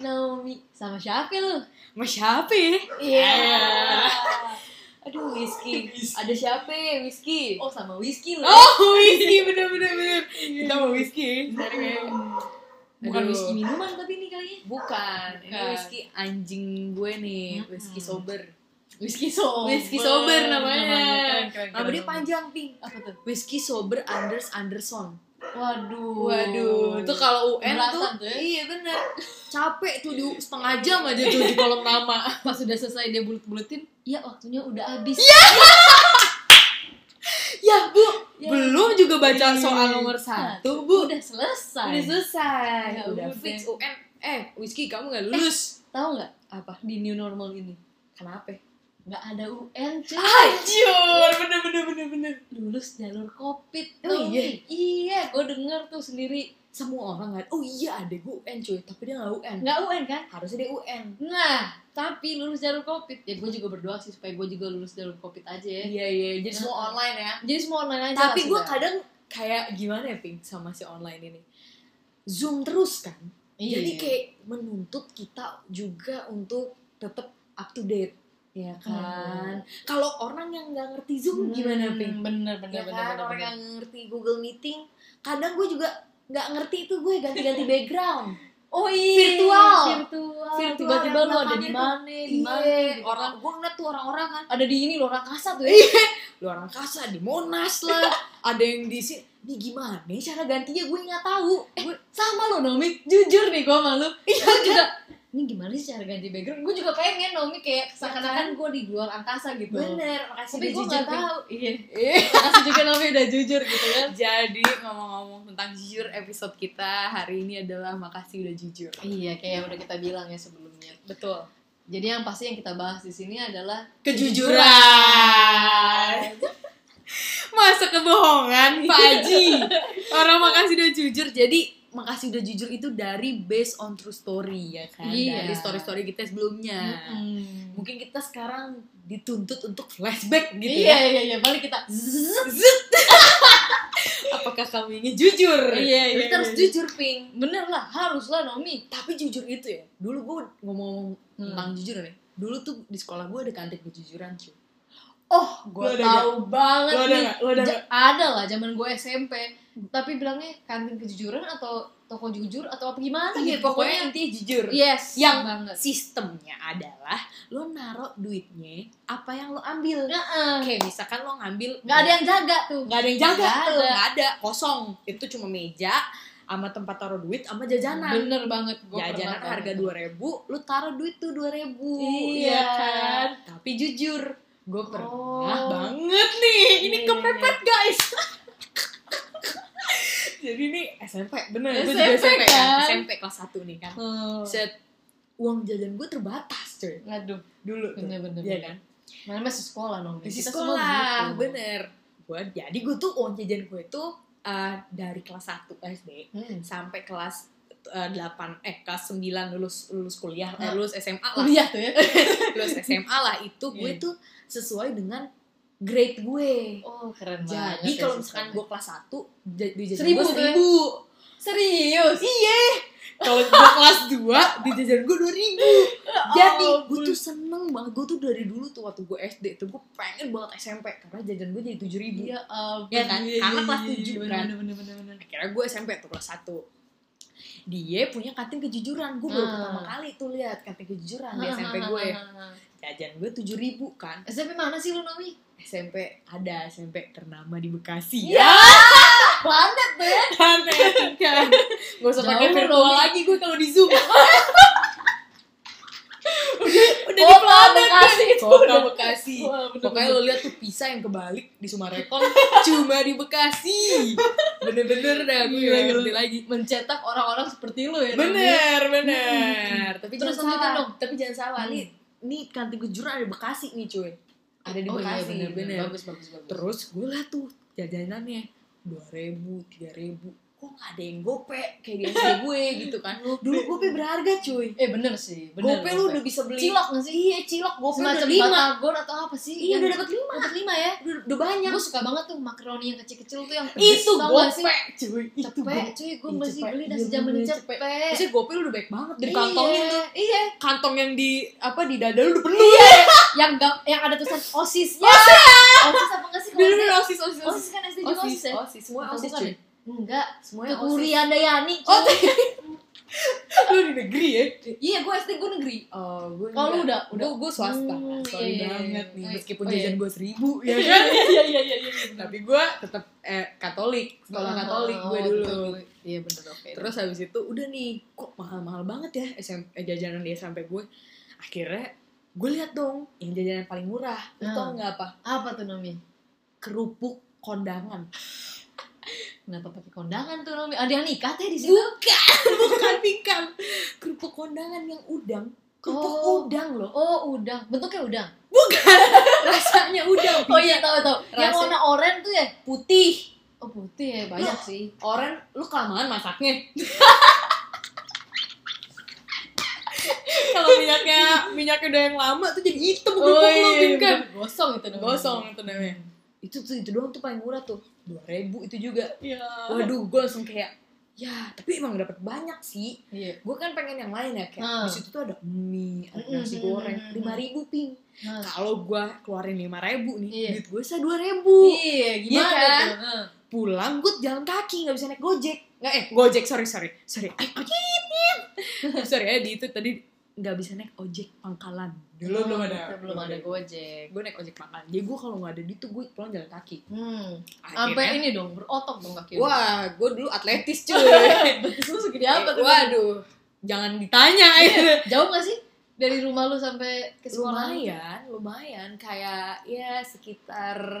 Tommy Sama siapa lu? Mas siapa ya? Iya. Aduh, Whiskey. Ada siapa? Whisky. Oh, sama whisky lu. Oh, Whiskey bener bener bener. Kita mau Whiskey. Iya. Sorry, Beb. Bukan Aduh. whisky minuman tapi ini kali ya. Bukan, ini Bukan. Whiskey anjing gue nih, Whiskey Mm-mm. sober. Whisky sober. Whiskey sober namanya. Keren, keren, Nama keren. dia panjang, Pink. Apa tuh? Whiskey sober Anders Anderson. Waduh. Waduh, itu kalau UN Belasan tuh, tuh ya. iya bener. Capek tuh di setengah jam aja tuh di kolom nama. pas sudah selesai dia bulet-buletin, ya waktunya udah habis. Iya, ya bu, Ya. belum juga baca Iya. soal nomor satu bu. Udah selesai. Udah selesai. Ya udah udah. fix UN. Eh, Whiskey kamu nggak lulus. Tahu nggak Apa? di new normal ini Kenapa? nggak ada UN cuy. Ajur, bener bener bener bener. Lulus jalur covid. Tommy. Oh, iya? Iya, gue denger tuh sendiri. Semua orang nggak. Oh iya, ada gue UN cuy, tapi dia nggak UN. Nggak UN kan? Harusnya dia UN. Nah, tapi lulus jalur covid. Ya gue juga berdoa sih supaya gue juga lulus jalur covid aja ya. Iya iya, jadi Nah. semua online ya. Jadi semua online aja. Tapi lah gue sudah. kadang kayak gimana ya, Pink, sama si online ini. Zoom terus kan. Iya. Jadi kayak menuntut kita juga untuk tetap up to date, Iya ya kan. Kalau orang yang nggak ngerti Zoom gimana, Hmm, Pink? Bener bener ya bener. kan bener, orang bener. yang ngerti Google Meeting kadang gue juga nggak ngerti itu gue ganti-ganti background Oh iya. Virtual. Virtual. Virtual Tiba-tiba yang lu ada di belakangnya mana? Di mana? iya gitu orang kan. gue ngeliat tuh orang-orang kan Ada di ini loh rakasa tuh ya. iya lu orang kasa di Monas lah ada yang di sini ini gimana nih cara gantinya gue nggak tahu gue sama lo Nomi jujur nih gue malu iya juga kan? ini gimana sih cara ganti background gue juga pengen ya. Nomi kayak seakan-akan gue di luar angkasa gitu bener makasih tapi gue udah jujur, nggak Pink. tahu iya Iya. makasih juga Nomi udah jujur gitu kan jadi ngomong-ngomong tentang jujur episode kita hari ini adalah makasih udah jujur iya kayak yang udah kita bilang ya sebelumnya betul jadi yang pasti yang kita bahas di sini adalah kejujuran masa kebohongan Pak Haji orang makasih udah jujur jadi makasih udah jujur itu dari based on true story ya kan Iya. dari story story kita sebelumnya Mm-mm. mungkin kita sekarang dituntut untuk flashback gitu iya ya iya iya balik kita Zut. apakah kamu ingin jujur Iya, iya, Kita harus iya. jujur ping bener lah harus lah Nomi tapi jujur itu ya dulu gue ngomong Hmm. tentang jujur nih dulu tuh di sekolah gue ada kantin kejujuran cuy oh Lu gue ada tahu banget Lu ada nih nggak? Lu ada Ja- nggak? ada lah zaman gue SMP tapi bilangnya kantin kejujuran atau toko jujur atau apa gimana Iya, gitu pokoknya Iya, intinya jujur Yes, yang banget. sistemnya adalah lo naruh duitnya apa yang lo ambil Heeh. kayak misalkan lo ngambil Nggak ada yang jaga tuh. nggak ada yang jaga Nggak tuh ada. nggak ada kosong itu cuma meja sama tempat taruh duit sama jajanan Bener banget. Gua jajanan pernah harga banget. dua ribu lo taruh duit tuh dua ribu Iya. kan tapi jujur gue pernah Oh. banget nih ini Iya, kepepet guys jadi ini SMP bener gua juga SMP, SMP kan? kan? SMP kelas 1 nih kan Hmm. set uang jajan gue terbatas cuy Aduh, dulu tuh. bener-bener. Iya kan Mana masih sekolah dong. di Kita semua gitu. sekolah begitu. bener gue jadi gue tuh uang jajan gue tuh eh, dari kelas 1 SD Hmm. sampai kelas eh, 8 eh kelas 9 lulus lulus kuliah eh, Hah? lulus SMA lah Kuliah tuh ya. lulus SMA lah itu gue Iya. tuh sesuai dengan grade gue Oh, keren banget. jadi ya, kalau sistemnya. misalkan gue kelas 1 di jajan Seribu gue tuh ya? seribu serius. Iya. Kalau gue kelas 2 di jajan gue 2000. Ya Jadi gue tuh seneng banget. Gue tuh dari dulu tuh waktu gue SD tuh gue pengen banget SMP karena jajan gue jadi 7000. Iya, ampun. Iya kan? Iya, Karena iya, kelas iya, iya, tujuh, bener, kan? Bener, bener, bener. Akhirnya gue SMP tuh kelas 1. Dia punya kantin kejujuran. Gue baru Ah. pertama kali tuh lihat kantin kejujuran di SMP gue. ya. ah. Jajan gue 7000 kan. SMP mana sih lu, Nawi? SMP ada SMP ternama di Bekasi. Iya. Planet tuh ya. Aneh kan. Gak usah pakai Jauh, virtual Romi. lagi gue kalau di Zoom. Kota udah di planet Bekasi kan? itu Kota udah- Bekasi Wah, bener-bener. pokoknya lo lihat tuh pisah yang kebalik di Sumarekon cuma di Bekasi bener-bener dah gue Gila, gak gila. ngerti lagi Hmm. Mencetak orang-orang seperti lu ya. Nomi. bener bener tapi Terus jangan lanjutin salah dong. tapi jangan salah Hmm. nih nih kantin kejuran ada Bekasi nih cuy ada di Oh, iya, Bekasi bener, bener. bener. Bagus, bagus, bagus. terus gue liat tuh jajanannya dua ribu tiga ribu kok nggak ada yang gope kayak di SD gue gitu kan dulu gope berharga cuy eh bener sih bener gope lu udah bisa beli cilok nggak sih iya cilok gope semacam udah lima batagor atau apa sih iya yang udah dapat lima dapat lima ya udah, udah banyak gue suka banget tuh makaroni yang kecil-kecil tuh yang pedes, itu tau gak gope sih? cuy itu cepet gope cuy gue Ih, masih cepet. beli Iya, dari zaman bener, cepet Maksudnya gope lu udah baik banget dari Iya, kantongnya tuh iya kantong yang di apa di dada lu udah penuh yang gak yang ada tulisan osisnya Ya! osis apa nggak sih kalau dulu dulu SD? osis osis osis kan SD juga osis ya osis semua Atau osis bukan cuy ya? enggak semuanya osis kekurian Dayani Oh, cuy. lu di negeri ya iya gue SD gue negeri Oh, gue Oh, lu udah- udah. gue swasta. Hmm, Sorry iya, iya, banget iya. nih, meskipun Oh, iya. jajan gue seribu ya kan. iya iya iya iya Tapi gue tetap eh, Katolik, sekolah Oh, Katolik gue dulu. Nah, iya bener oke Terus habis itu udah nih, kok mahal-mahal banget ya SM, eh, jajanan di SMP gue. Akhirnya gue lihat dong yang jajanan paling murah. Lu tau Hmm. nggak apa? apa tuh Nomi Kerupuk kondangan. kenapa pakai kondangan tuh Nomi ada yang nikah teh di situ Bukan, bukan pingkan. Kerupuk kondangan yang udang. Kerupuk Oh. udang loh. oh udang bentuknya udang Rasanya udang. oh iya tahu tahu yang Rasa- warna oranye tuh ya Putih. oh putih ya banyak sih Orang lu kelamaan masaknya. Kalau minyaknya minyaknya udah yang lama tuh jadi hitam kerupuk lu, Bim, kan. Oh, iya, bener. gosong itu namanya Gosong itu namanya. Itu tuh itu doang tuh paling murah tuh. 2000 itu juga. iya Waduh, gue langsung kayak ya, tapi emang dapat banyak sih. iya Gue kan pengen yang lain ya kayak Hmm. di situ tuh ada mie, ada nasi Mm-mm. goreng, 5000 ping. Nah, Kalau gue keluarin 5000 nih, Iya. duit gue sisa 2000. iya Iya gimana kan? tuh Heeh. Pulang gue jalan kaki, nggak bisa naik gojek. Nggak eh gojek, sorry sorry. Sorry. Ay, sorry ya di itu tadi nggak bisa naik ojek pangkalan dulu belum ada Kita Nah. belum ada gojek gue naik ojek pangkalan jadi gue kalau nggak ada duit tuh gue pulang jalan kaki hmm sampai akhirnya ini dong berotot dong kaki lu. wah gue dulu atletis cuy betis lu segede apa tuh Iya. waduh jangan ditanya jauh gak sih dari rumah lu sampai ke sekolah lumayan ya, lumayan kayak ya sekitar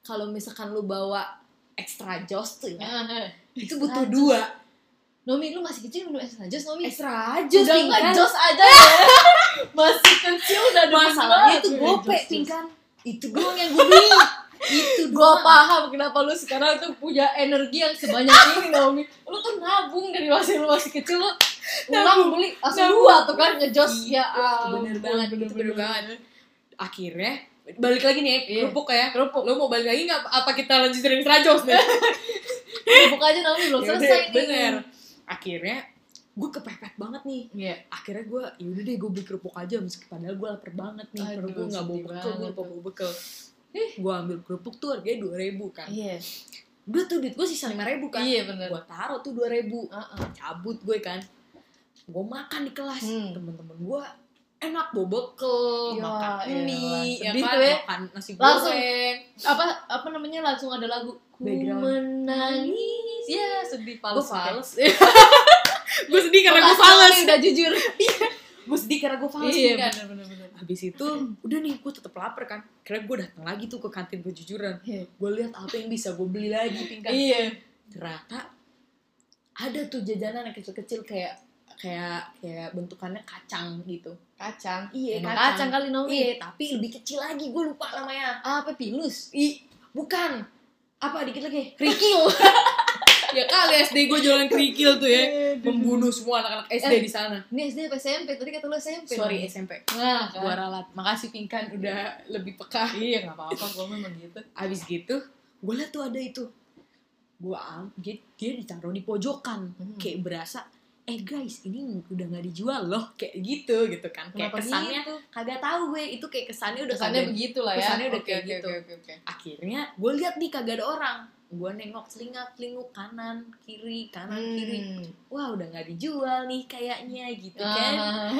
kalau misalkan lu bawa extra jos tuh ya Heeh. itu Extra butuh jos. dua Nomi lu masih kecil minum extra jos Nomi extra jos udah nggak pingkan jos aja ya masih kecil udah demen masalahnya banget itu minum gope jos-jos. pingkan itu doang yang gue beli itu Gua doang paham kenapa lu sekarang tuh punya energi yang sebanyak ini Naomi lu tuh nabung dari masih lu masih kecil lu ulang beli langsung Nabung. dua tuh kan ngejos ya Iya, ampun, gitu kan. bener banget, bener, itu bener bener banget. akhirnya balik lagi nih Iya. kerupuk kayak kerupuk lu mau balik lagi nggak apa kita lanjut dari serajos nih banget buka aja Naomi belum Yaudah, selesai nih Ya bener akhirnya gue kepepet banget nih Iya. akhirnya gue yaudah deh gue beli kerupuk aja meski padahal gue lapar banget nih Aduh, perut gue nggak bawa sedih bekal gue banget lupa bawa bekal gue ambil kerupuk tuh harganya dua ribu kan iya udah tuh duit gue sisa lima ribu kan iya bener gue taruh tuh dua ribu Heeh. cabut gue kan gue makan di kelas Hmm. temen-temen gue enak bobo bekel Ya, makan elah, mie ya sedih kan tuh ya. makan nasi Langsung. goreng apa apa namanya langsung ada lagu ku Background. menangis ya sedih gue palsu fals gue sedih karena gue fals udah jujur gue sedih karena gue fals iya kan bener bener bener habis itu udah nih gue tetap lapar kan karena gue datang lagi tuh ke kantin kejujuran Iya. gue lihat apa yang bisa gue beli lagi pingkan iya ternyata ada tuh jajanan yang kecil-kecil kayak kayak kayak bentukannya kacang gitu kacang Iya, Emang kacang kacang. kali Naomi iya tapi lebih kecil lagi gue lupa namanya apa pilus I, bukan. Apa dikit lagi? Kerikil. ya kali SD gue jualan kerikil tuh ya. Membunuh semua anak-anak SD di sana. Ini SD apa SMP? Tadi kata lu SMP. Eh, Sorry SMP. Nah, Gua ralat. Makasih Pingkan Kan udah lebih peka. Iya, enggak apa-apa, gua memang gitu. Abis gitu, gue liat tuh ada itu. Gue am, dia, dia ditaruh di pojokan. Hmm. Kayak berasa, eh guys ini udah nggak dijual loh. Kayak gitu gitu kan. Kayak Kenapa kesannya, gitu? kagak tahu gue. Itu kayak kesannya udah Kesannya kagak- begitu lah ya. Kesannya udah Oke, kayak oke, gitu. Oke, oke, oke. akhirnya gue lihat nih kagak ada orang gue nengok selingak selinguk kanan kiri kanan Hmm. kiri wah udah nggak dijual nih kayaknya gitu kan Ah,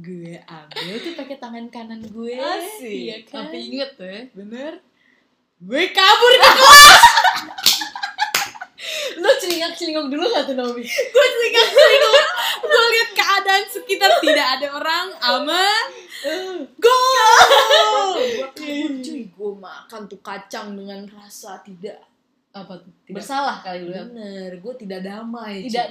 gue ambil tuh pakai tangan kanan gue Asik. iya kan Tapi inget tuh ya. bener gue kabur ke Lu celingak-celingok dulu gak tuh, Naomi? gue selingak selinguk gue lihat keadaan sekitar tidak ada orang ama gol gue kabur cuy gue makan tuh kacang dengan rasa tidak Apa tuh? Tidak- Bersalah kali lu ya. bener gue tidak damai Tidak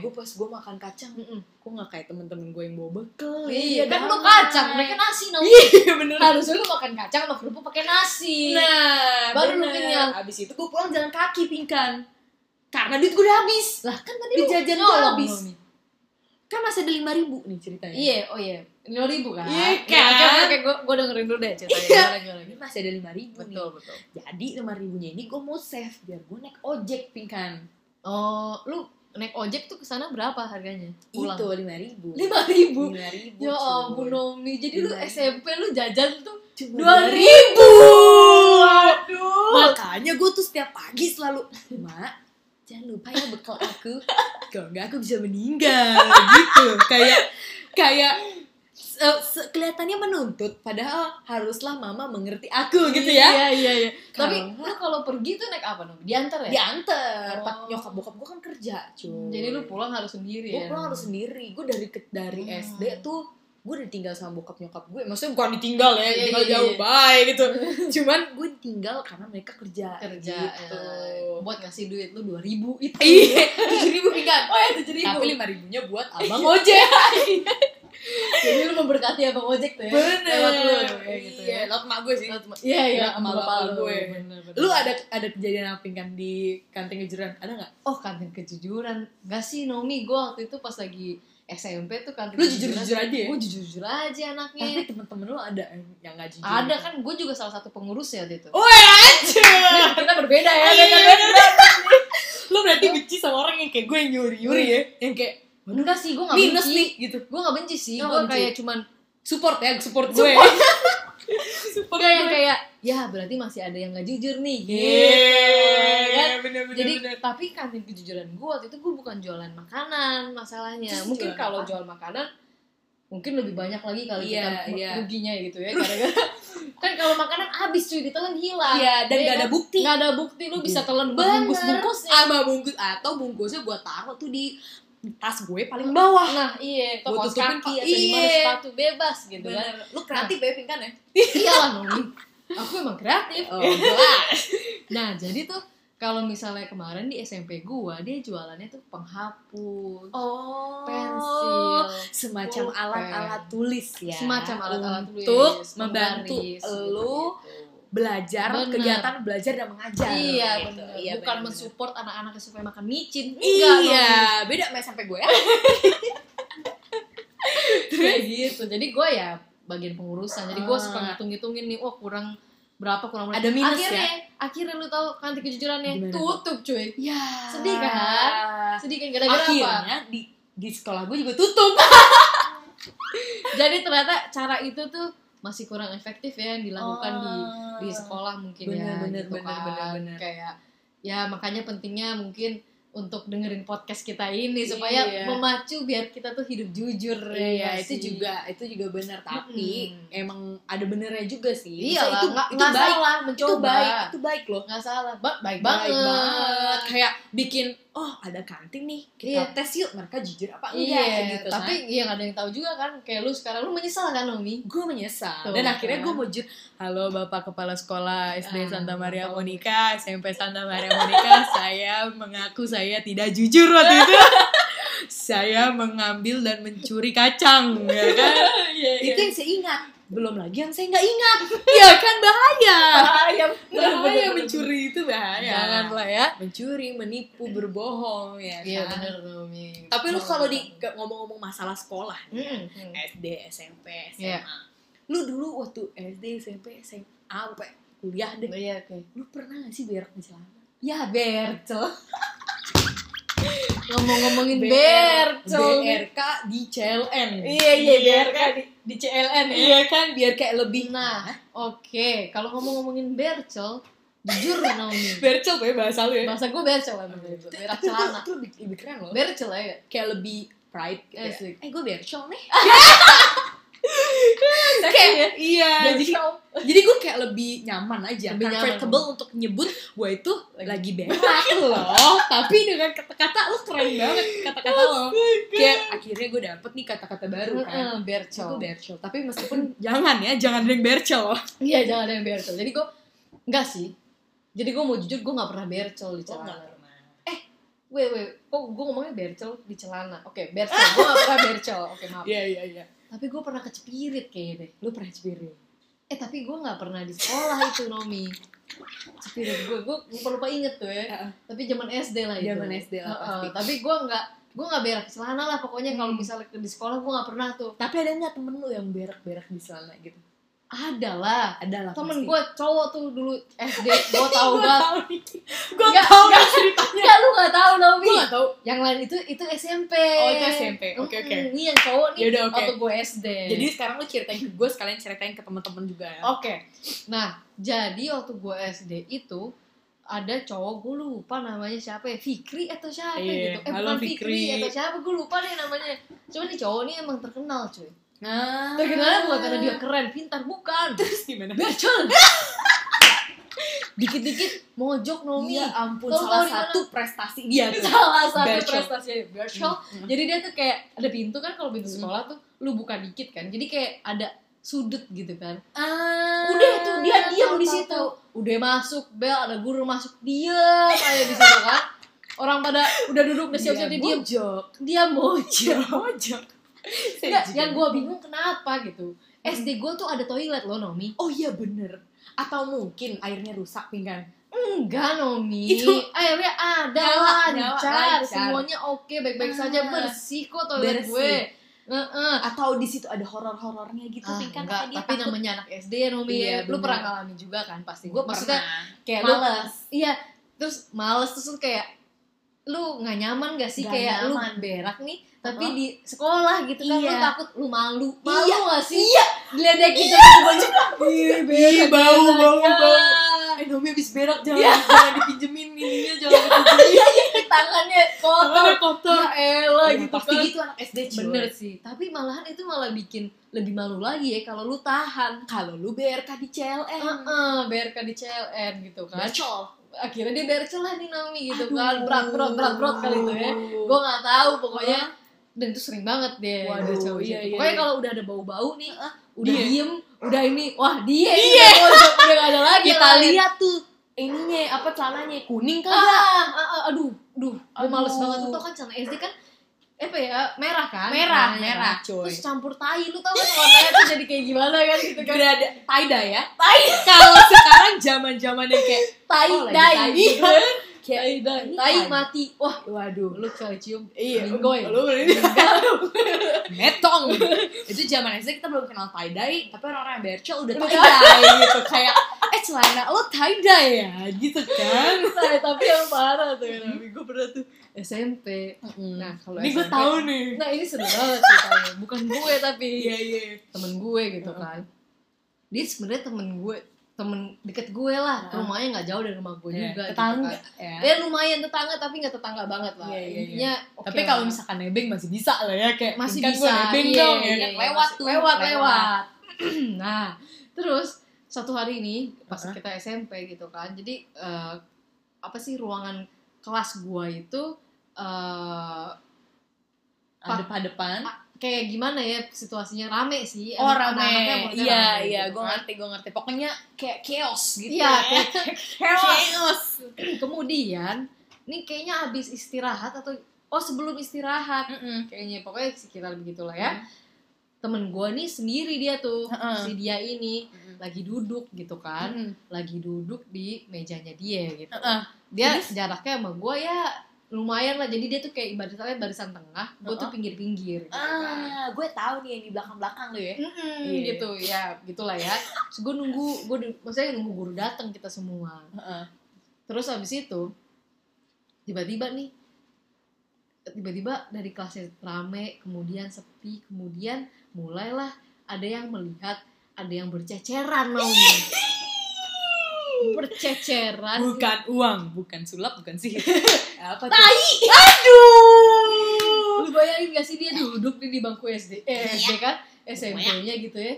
damai. gue pas gue makan kacang Mm-mm. kok nggak kayak temen-temen gue yang bawa bekal Iya, kan lu damai. kacang, mereka nasi, Naomi. iya bener Harusnya lu makan kacang sama kerupuk pakai nasi. nah Baru lu bener. kenyang. abis itu gue pulang jalan kaki pingkan karena duit gue udah habis Lah kan tadi Di lu jajan nyolong, tuh habis. Nomi. kan masih ada lima ribu nih ceritanya Iya, oh iya. 5000 ribu kan? Iya kan? Oke, oke, oke. Gue gue dengerin dulu deh ceritanya. Iya. Gimana, gimana, Ini gimana. masih ada lima ribu nih Betul, betul. jadi lima ribunya ini gue mau save biar gue naik ojek kan? pingkan Oh, lu naik ojek tuh ke sana berapa harganya? itu lima ribu Lima ribu. lima ribu Ya ampun Nomi, jadi lu Lima ribu. SMP lu jajan tuh dua dua ribu ribu. Aduh. makanya gue tuh setiap pagi selalu mak jangan lupa ya bekal aku kalau nggak aku bisa meninggal gitu kayak kayak se- se- kelihatannya menuntut padahal haruslah mama mengerti aku gitu ya Iya iya iya. Tapi Kalau lu kalau pergi tuh naik apa Nomi? Diantar ya? diantar Oh. Pak nyokap bokap gue kan kerja cuy Jadi lu pulang harus sendiri ya? gue Nomi? pulang harus sendiri gue dari ke- dari Hmm. SD tuh gue ditinggal sama bokap nyokap gue maksudnya bukan ditinggal ya Iya, iya, tinggal iya, jauh iya. bye gitu cuman gue ditinggal karena mereka kerja kerja gitu. ya. buat ngasih duit lu dua ribu itu iya tujuh ribu pinggan oh ya tujuh ribu tapi lima ribunya buat abang Iya. ojek jadi lu memberkati abang ojek tuh ya lewat lu bener kayak gitu ya lewat mak gue sih Lewat ma- iya iya Lewat sama bapak bapak lu gue. bener, bener. lu ada ada kejadian apa pinggan di kantin kejuran ada nggak oh kantin kejujuran gak sih Nomi gue waktu itu pas lagi SMP tuh kantin lu jujur jujur aja ya gue jujur jujur aja tapi anaknya temen-temen lu ada yang yang nggak jujur ada kan gue juga salah satu pengurus ya waktu itu Woi anjir kita berbeda ya Iya, beda iya, beda Lu berarti benci sama orang yang kayak gue yang nyuri-nyuri ya Yang kayak enggak sih gue gak minus benci nih gitu gue gak benci sih Nggak gue benci. kayak cuman Support ya, support gue Support Enggak yang kayak ya berarti masih ada yang gak jujur nih gitu kan? Yeay bener-bener jadi tapi kantin kejujuran gue waktu itu gue bukan jualan makanan masalahnya Terus mungkin jualan kalau apa? jual makanan mungkin lebih banyak lagi kali Iya, kita iya. ruginya gitu ya gara-gara kan kalau makanan habis cuy ditelan hilang Iya dan Iya gak ada kan? bukti nggak ada bukti lu bisa telan Bener. bungkus-bungkusnya Sama bungkus Atau bungkusnya gue taruh tuh di tas gue paling bawah nah iya Gua toko tutupin kaki pa- atau di mana iya. sepatu bebas gitu kan Bener. Lu kreatif ya Pink, kan ya iyalah Nomi aku emang kreatif Oh jelas nah jadi tuh kalau misalnya kemarin di SMP gua dia jualannya tuh penghapus Oh pensil Semacam Pulpen. alat-alat tulis ya semacam alat-alat tulis Untuk membantu menggaris, lu gitu-gitu. belajar Bener. kegiatan belajar dan mengajar iya gitu. benar Iya, bukan bener-bener. mensupport anak-anaknya supaya makan micin Enggak, Iya, beda sama SMP gue ya. dong. kayak gitu jadi gue ya bagian pengurusan jadi gue suka Ah. ngitung-ngitungin nih wah kurang berapa kurang berapa Ada minus ya? akhirnya akhirnya lu tahu kantin kejujurannya Gimana tuh? tutup cuy Ya. Sedih kan? sedih kan gara-gara Iya. apa Akhirnya di di sekolah gue juga tutup. jadi ternyata cara itu tuh masih kurang efektif ya yang Oh. dilakukan di Ah. di sekolah mungkin ya Bener, bener, gitu bener, kan. bener, bener. kayak ya makanya pentingnya mungkin untuk dengerin podcast kita ini supaya Iya. memacu biar kita tuh hidup jujur ya Iya, nggak sih? itu juga itu juga benar tapi Mm-mm. emang ada benernya juga sih. iya Maksudnya lah itu nggak itu nggak baik, salah mencoba itu baik, itu baik loh. nggak salah ba- baik, Baik banget, banget. Kayak bikin oh ada kantin nih, kita Iya. tes yuk mereka jujur apa iya enggak gitu. tapi Tapi iya nggak ada yang tahu juga kan kayak lu sekarang lu menyesal kan Nomi gue menyesal Tuh, dan akhirnya kan. gue mau jujur halo bapak kepala sekolah Ah, SD Santa Maria tahu. Monica SMP Santa Maria Monica saya mengaku saya tidak jujur waktu itu saya mengambil dan mencuri kacang ya kan iya itu yang saya ingat belum lagi yang saya nggak ingat ya kan bahaya bahaya bahaya mencuri itu bahaya janganlah ya mencuri menipu berbohong ya iya kan? benar Nomi tapi lu kalau di Eh. ke- ngomong-ngomong masalah sekolah Mm, mm. SD, SMP, SMA. Iya. Lu dulu waktu SD, SMP, SMA, sampai kuliah deh. iya oke Lu pernah gak sih berak di celana? Ya Bercel Ngomong-ngomongin BR, Bercel BRK di CLN. Iya, iya, BRK di, di CLN ya. Iya kan, biar kayak lebih Nah oke Kalau ngomong-ngomongin Bercel Jujur Naomi Bercel tuh ya bahasa lu ya. Bahasa gue Bercel emang Bercel. Berak Tapi celana Itu lebih, lebih keren loh. Bercel ya nggak? Kayak lebih pride gitu ya. Asik. Eh, gue bercel nih. Seksi ya? iya. Jadi, Bercel jadi gue kayak lebih nyaman aja. Lebih nyaman. comfortable untuk nyebut gue itu Lagi- lagi berak loh. Tapi dengan kata-kata lu keren banget kata-kata lo. Kayak akhirnya gue dapet nih kata-kata baru kan. Mm-mm, Bercel Gue bercel, tapi meskipun jangan ya, jangan ada yang bercel loh. Iya jangan ada yang Bercel Jadi gue Enggak sih Jadi gue mau jujur Gue gak pernah Oh, Bercel di celana Wait, wait, kok gue ngomongnya bercel di celana? Oke, bercel, gue gak pernah bercel. Oke, maaf. Iya iya iya. Tapi gue pernah kecepirit kayaknya deh. Lu pernah cipirin? Eh tapi gue nggak pernah di sekolah itu Nomi. Cipirit gue, gue lupa-lupa inget tuh ya. Heeh. Tapi zaman SD lah itu. Zaman SD lah, Heeh, pasti. Tapi gue nggak gue nggak berak celana lah pokoknya kalau Hmm. misalnya ke- di sekolah gue nggak pernah tuh. Tapi ada nggak temen lu yang berak-berak di celana gitu? Ada lah. Ada lah. Temen pasti. gue cowok tuh dulu SD, gue tau Gua banget. tahu nih. Gua Nggak, tahu nggak. nih ceritanya. Enggak, lu gak tau Naomi Gua nggak tahu. Yang lain itu itu SMP Oh, itu SMP. Oke, oke. Mm-mm, Ini yang cowok nih Yaudah, oke. Waktu gue SD Jadi sekarang lu ceritain ke gue, sekalian ceritain ke temen-temen juga ya. Oke. Nah, jadi waktu gue SD itu ada cowok gue lupa namanya siapa ya Fikri atau siapa Iya, gitu eh halo bukan Fikri. Fikri. atau siapa gue lupa deh namanya cuman nih cowok ini emang terkenal cuy Nah, terkenalnya bukan karena dia keren pintar bukan terus gimana? bercol dikit-dikit mojok Nomi Ya ampun, Tau salah di mana? satu prestasi dia tuh. salah satu Bercol. prestasinya Bercol Hmm. jadi dia tuh kayak ada pintu kan kalau pintu Hmm. sekolah tuh lu buka dikit kan jadi kayak ada sudut gitu kan Ah, udah tuh dia diam tahu, di tahu, situ tahu. udah masuk bel ada guru masuk diam kayak di situ kan orang pada udah duduk udah siap-siap dia Iya, diam mojok. dia mojok Dia mojok. Iya, Nggak, yang gue bingung kenapa gitu SD gue tuh ada toilet loh Nomi Oh iya bener. Atau mungkin airnya rusak pinggan. enggak Nomi Itu- akhirnya ada Nyawa, nyawa, lancar lancar. semuanya oke baik-baik saja Ah, bersih kok toilet bersih. gue Heeh. Atau di situ ada horor-horornya gitu Ah, pingkan enggak, kayak dia tapi namanya anak SD ya Nomi Iya, ya. lu bener. pernah ngalami juga kan pasti gue maksudnya maksudnya kayak lu males. iya terus males terus lu kayak lu nggak nyaman gak sih Nggak kayak lu nyaman. berak nih tapi Uh-huh. di sekolah gitu kan lu Iya. takut lu malu malu Iya, gak sih iya diledekin sama baju Ih, bau, bau, bau. bau Eh, Nomi habis berak jangan Iya. jangan dipinjemin ininya jangan dipinjemin. tangannya kotor kotor. ya elah Ya, gitu pasti kan gitu anak SD cuy. bener sih tapi malahan itu malah bikin lebih malu lagi ya kalau lu tahan Kalau lu BRK di CLN. Heeh, BRK di CLN gitu kan Bacol. akhirnya dia bercel lah nih Naomi gitu Aduh. kan berat berat berat berat kali itu ya gue nggak tahu pokoknya dan itu sering banget deh Waduh, bercel gitu. iya, iya, pokoknya iya. kalau udah ada bau bau nih Heeh. udah Dia. diem udah ini wah Iya, dia ini udah bocok, udah nggak ada lagi kita lah. lihat tuh ininya apa celananya kuning ah, kagak? ah, ah, aduh duh gue males Aduh. banget tuh tau kan celana SD kan apa ya merah kan Merah, warnanya merah, kan. coy. terus campur tai lu tau kan warnanya tuh jadi kayak gimana kan gitu kan Grada Taida ya. Kalau sekarang zaman-zaman yang kayak tai Oh, lagi dai tai. gitu kan. kayak tai dai Ini tai tai. mati wah waduh. lu kali cium Iya, minggoy lu beli metong. Itu zaman SD kita belum kenal tie dye, tapi orang-orang yang bercel udah tie dye gitu kayak eh celana lo tie dye ya gitu kan. Nah, tapi yang parah tuh yang lebih gue pernah tuh SMP Nah, kalau ini gue SMP tahu nih. nah ini seru banget ceritanya bukan gue tapi Iya iya. temen gue gitu kan dia sebenarnya temen gue temen deket gue lah Heeh. rumahnya nggak jauh dari rumah gue Iya, juga tetangga gitu ya. kan. ya lumayan tetangga tapi nggak tetangga banget lah Iya, iya, iya. intinya oke Tapi kalau lah. misalkan nebeng masih bisa lah ya kayak masih kan bisa gua nebeng iya, dong iya, ya iya, kan lewat masih- tuh lewat lewat nah terus satu hari ini pas Uh-huh. kita SMP gitu kan jadi eh, apa sih ruangan kelas gua itu eh Ada depan depan kayak gimana ya situasinya rame sih oh Anak- rame anak-anaknya mulutnya iya rame iya gitu gue kan. ngerti gue ngerti pokoknya kayak chaos gitu Iya, ya kayak- chaos kemudian ini kayaknya habis istirahat atau oh sebelum istirahat Mm-mm. kayaknya pokoknya sekitar begitulah ya temen gua nih sendiri dia tuh si Heeh. dia ini Mm-mm. lagi duduk gitu kan Mm-mm. lagi duduk di mejanya dia gitu Heeh. dia jaraknya sama gua ya lumayan lah jadi dia tuh kayak ibaratnya barisan tengah gua tuh Heeh. pinggir-pinggir gitu kan. ah gue tahu nih yang di belakang belakang lo ya Mm-mm, Iya. gitu ya gitulah ya terus gue nunggu gue maksudnya nunggu guru datang kita semua Heeh. terus abis itu tiba-tiba nih tiba-tiba dari kelasnya rame kemudian sepi kemudian mulailah ada yang melihat ada yang berceceran mau berceceran bukan uang bukan sulap bukan sihir apa tuh tai aduh lu bayangin gak sih dia duduk nih di bangku SD Iya. eh, SD kan SMP-nya gitu ya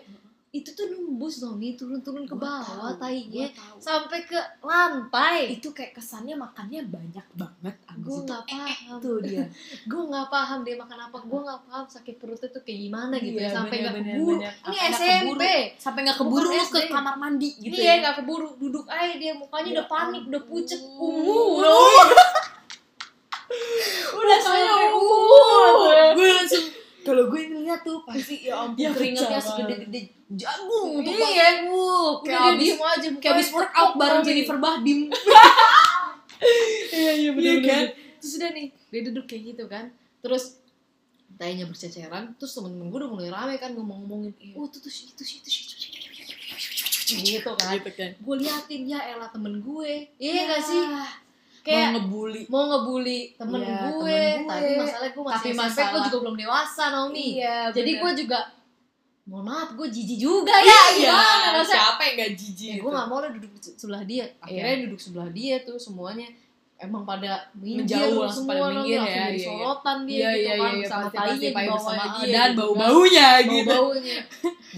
itu tuh nembus dong nih turun-turun ke bawah tainya sampai ke lantai ya. itu kayak kesannya makannya banyak banget abis gue itu Eh, nggak paham tuh dia gue nggak paham dia makan apa gue nggak paham sakit perutnya tuh kayak gimana gitu ya Iya, sampai nggak bener, keburu bener, bener. ini Sampai nggak SMP sampai nggak Bukan keburu lu ke SD. kamar mandi gitu iya ya nggak keburu duduk aja dia mukanya Ya udah panik udah ampun. pucet ungu udah sampai saya ungu gue langsung kalau gue ini keringat tuh pasti ya ampun Iya, keringatnya pecah banget. segede-gede jagung tuh Iya. pasti wuh, kayak Udah dia habis di semua aja kayak habis workout bareng Jennifer Bahdim iya iya bener, bener, kan terus udah nih dia duduk kayak gitu kan terus tainya berceceran terus temen-temen gue udah mulai rame kan ngomong-ngomongin oh tuh tuh itu itu gitu kan gitu kan gue liatin ya elah temen gue iya iya gak sih kayak kayak ngebully mau ngebully temen, Iya, gue, temen gue. tapi masalahnya gue masih Tapi SMP gue masalah- juga belum dewasa Naomi iya jadi gue bener. Iya, juga mohon maaf gue jijik juga ya gimana rasanya siapa yang gak jijik gitu? ya, gue gak mau lah duduk se- sebelah dia akhirnya duduk sebelah dia tuh semuanya emang pada minggir Menjauh semua langsung pada langsung minggir ya, jadi iya, iya. sorotan dia iya gitu iya kan iya sama pasti tainya pasti di pahit bawah sama dia dan gitu bau kan. baunya gitu bau-baunya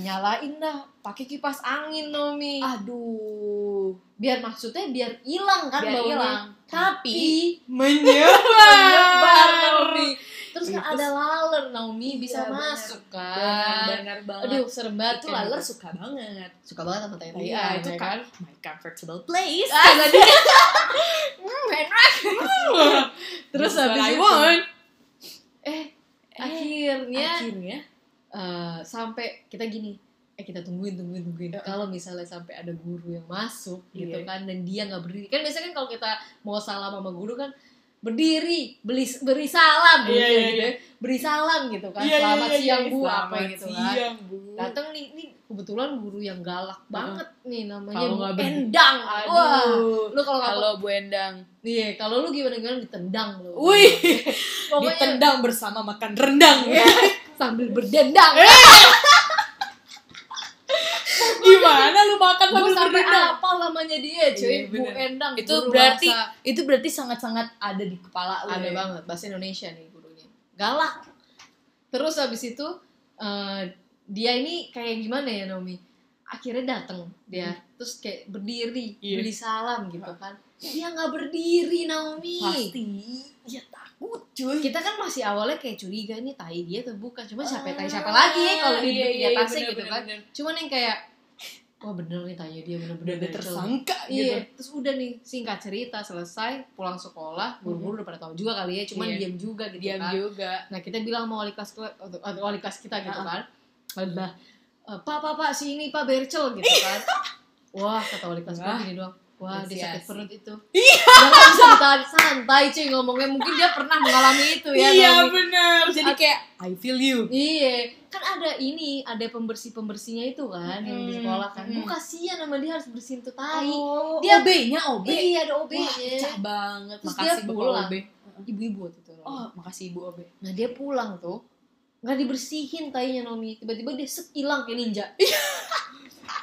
nyalain dah pakai kipas angin Nomi aduh biar maksudnya biar hilang kan Biar baunya hilang. tapi menyebar menyebar nih terus kan Terus- ada laler Naomi bisa Iya, benar. masuk kan benar banget aduh serem banget itu kan. laler suka banget suka banget sama tai Iya, itu ya kan my comfortable place ah tadi Hmm, terus That's habis what I itu want. eh eh, akhirnya akhirnya eh, sampai kita gini eh kita tungguin tungguin tungguin Heeh. kalau misalnya sampai ada guru yang masuk gitu Iya. kan dan dia nggak berdiri kan biasanya kan kalau kita mau salam sama guru kan berdiri beli beri salam Iya, iya, gitu ya. beri salam gitu kan selamat siang bu apa gitu kan siang bu datang nih nih kebetulan guru yang galak banget nih namanya Kalau Bu nggak ber- Endang wah aduh lu kalau nggak kalau Bu Endang Iya, kalau lu gimana gimana ditendang lu. Wih, pokoknya Iya. ditendang bersama makan rendang. sambil berdendang. Eh, Gimana lu makan Gue sambil sampai rendang? apa namanya dia, cuy? Iya, Bu bener. Endang. Itu guru berarti- bahasa- Itu berarti sangat-sangat ada di kepala lu. ada ya? banget bahasa Indonesia nih gurunya. Galak. Terus habis itu eh, dia ini kayak gimana ya, Nomi? Akhirnya datang dia, terus kayak berdiri, Iya. beli salam gitu kan. Dia nggak berdiri, Naomi. Pasti. Ya takut cuy. kita kan masih awalnya kayak curiga ini tai dia atau bukan cuma siapa tai siapa lagi ya kalau Iya, di, di atasnya gitu kan cuman yang kayak wah bener nih tanya dia Udah bener-bener ada dari cowok. tersangka Gitu. iya gitu. terus udah nih singkat cerita selesai pulang sekolah buru-buru udah pada tahu juga kali ya cuman Iya. diam juga gitu Diam kan juga. nah kita bilang mau wali kelas ke- atau atau wali kelas kita gitu Ah. kan Lah, "Eh, pak pak pak si ini pak Bercel gitu kan wah kata wali kelas gue Wah. gini doang wah dia sakit Apresiasi. perut itu Jangan bisa ditahan santai cuy ngomongnya mungkin dia pernah mengalami itu ya Naomi. benar. Terus Iya, Jadi ad- kayak I feel you. Iya, kan ada ini, ada pembersih pembersihnya itu kan yang di Mm, sekolah kan. Gue mm. kasihan sama dia harus bersihin tuh tai. dia OB-nya OB. iya ada Oh. Wah, OB-nya. pecah banget. Terus dia makasih Bapak pulang. OB. Ibu-ibu waktu itu. Oh, makasih Ibu OB. Nah dia pulang tuh, nggak dibersihin tainya Nomi. Tiba-tiba dia set hilang kayak ninja.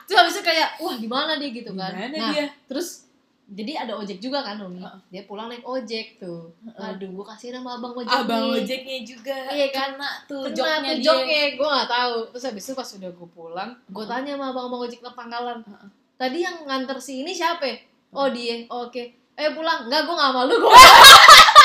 terus habisnya kayak, wah gimana dia gitu kan. Gimana nah, dia? terus jadi ada ojek juga kan Nomi. Heeh. Dia pulang naik ojek tuh. Heeh. Aduh, gue kasihan sama abang ojek Abang nih. ojeknya juga. Iya kan? Kena tuh Kena joknya tuh dia. joknya, gue gak tahu. Terus habis itu pas udah gue pulang, gue Heeh. tanya sama abang abang ojek pangkalan. Heeh. Tadi yang nganter si ini siapa? ya? Heeh. Oh dia, Oh, oke. Eh pulang, enggak gue gak malu gue.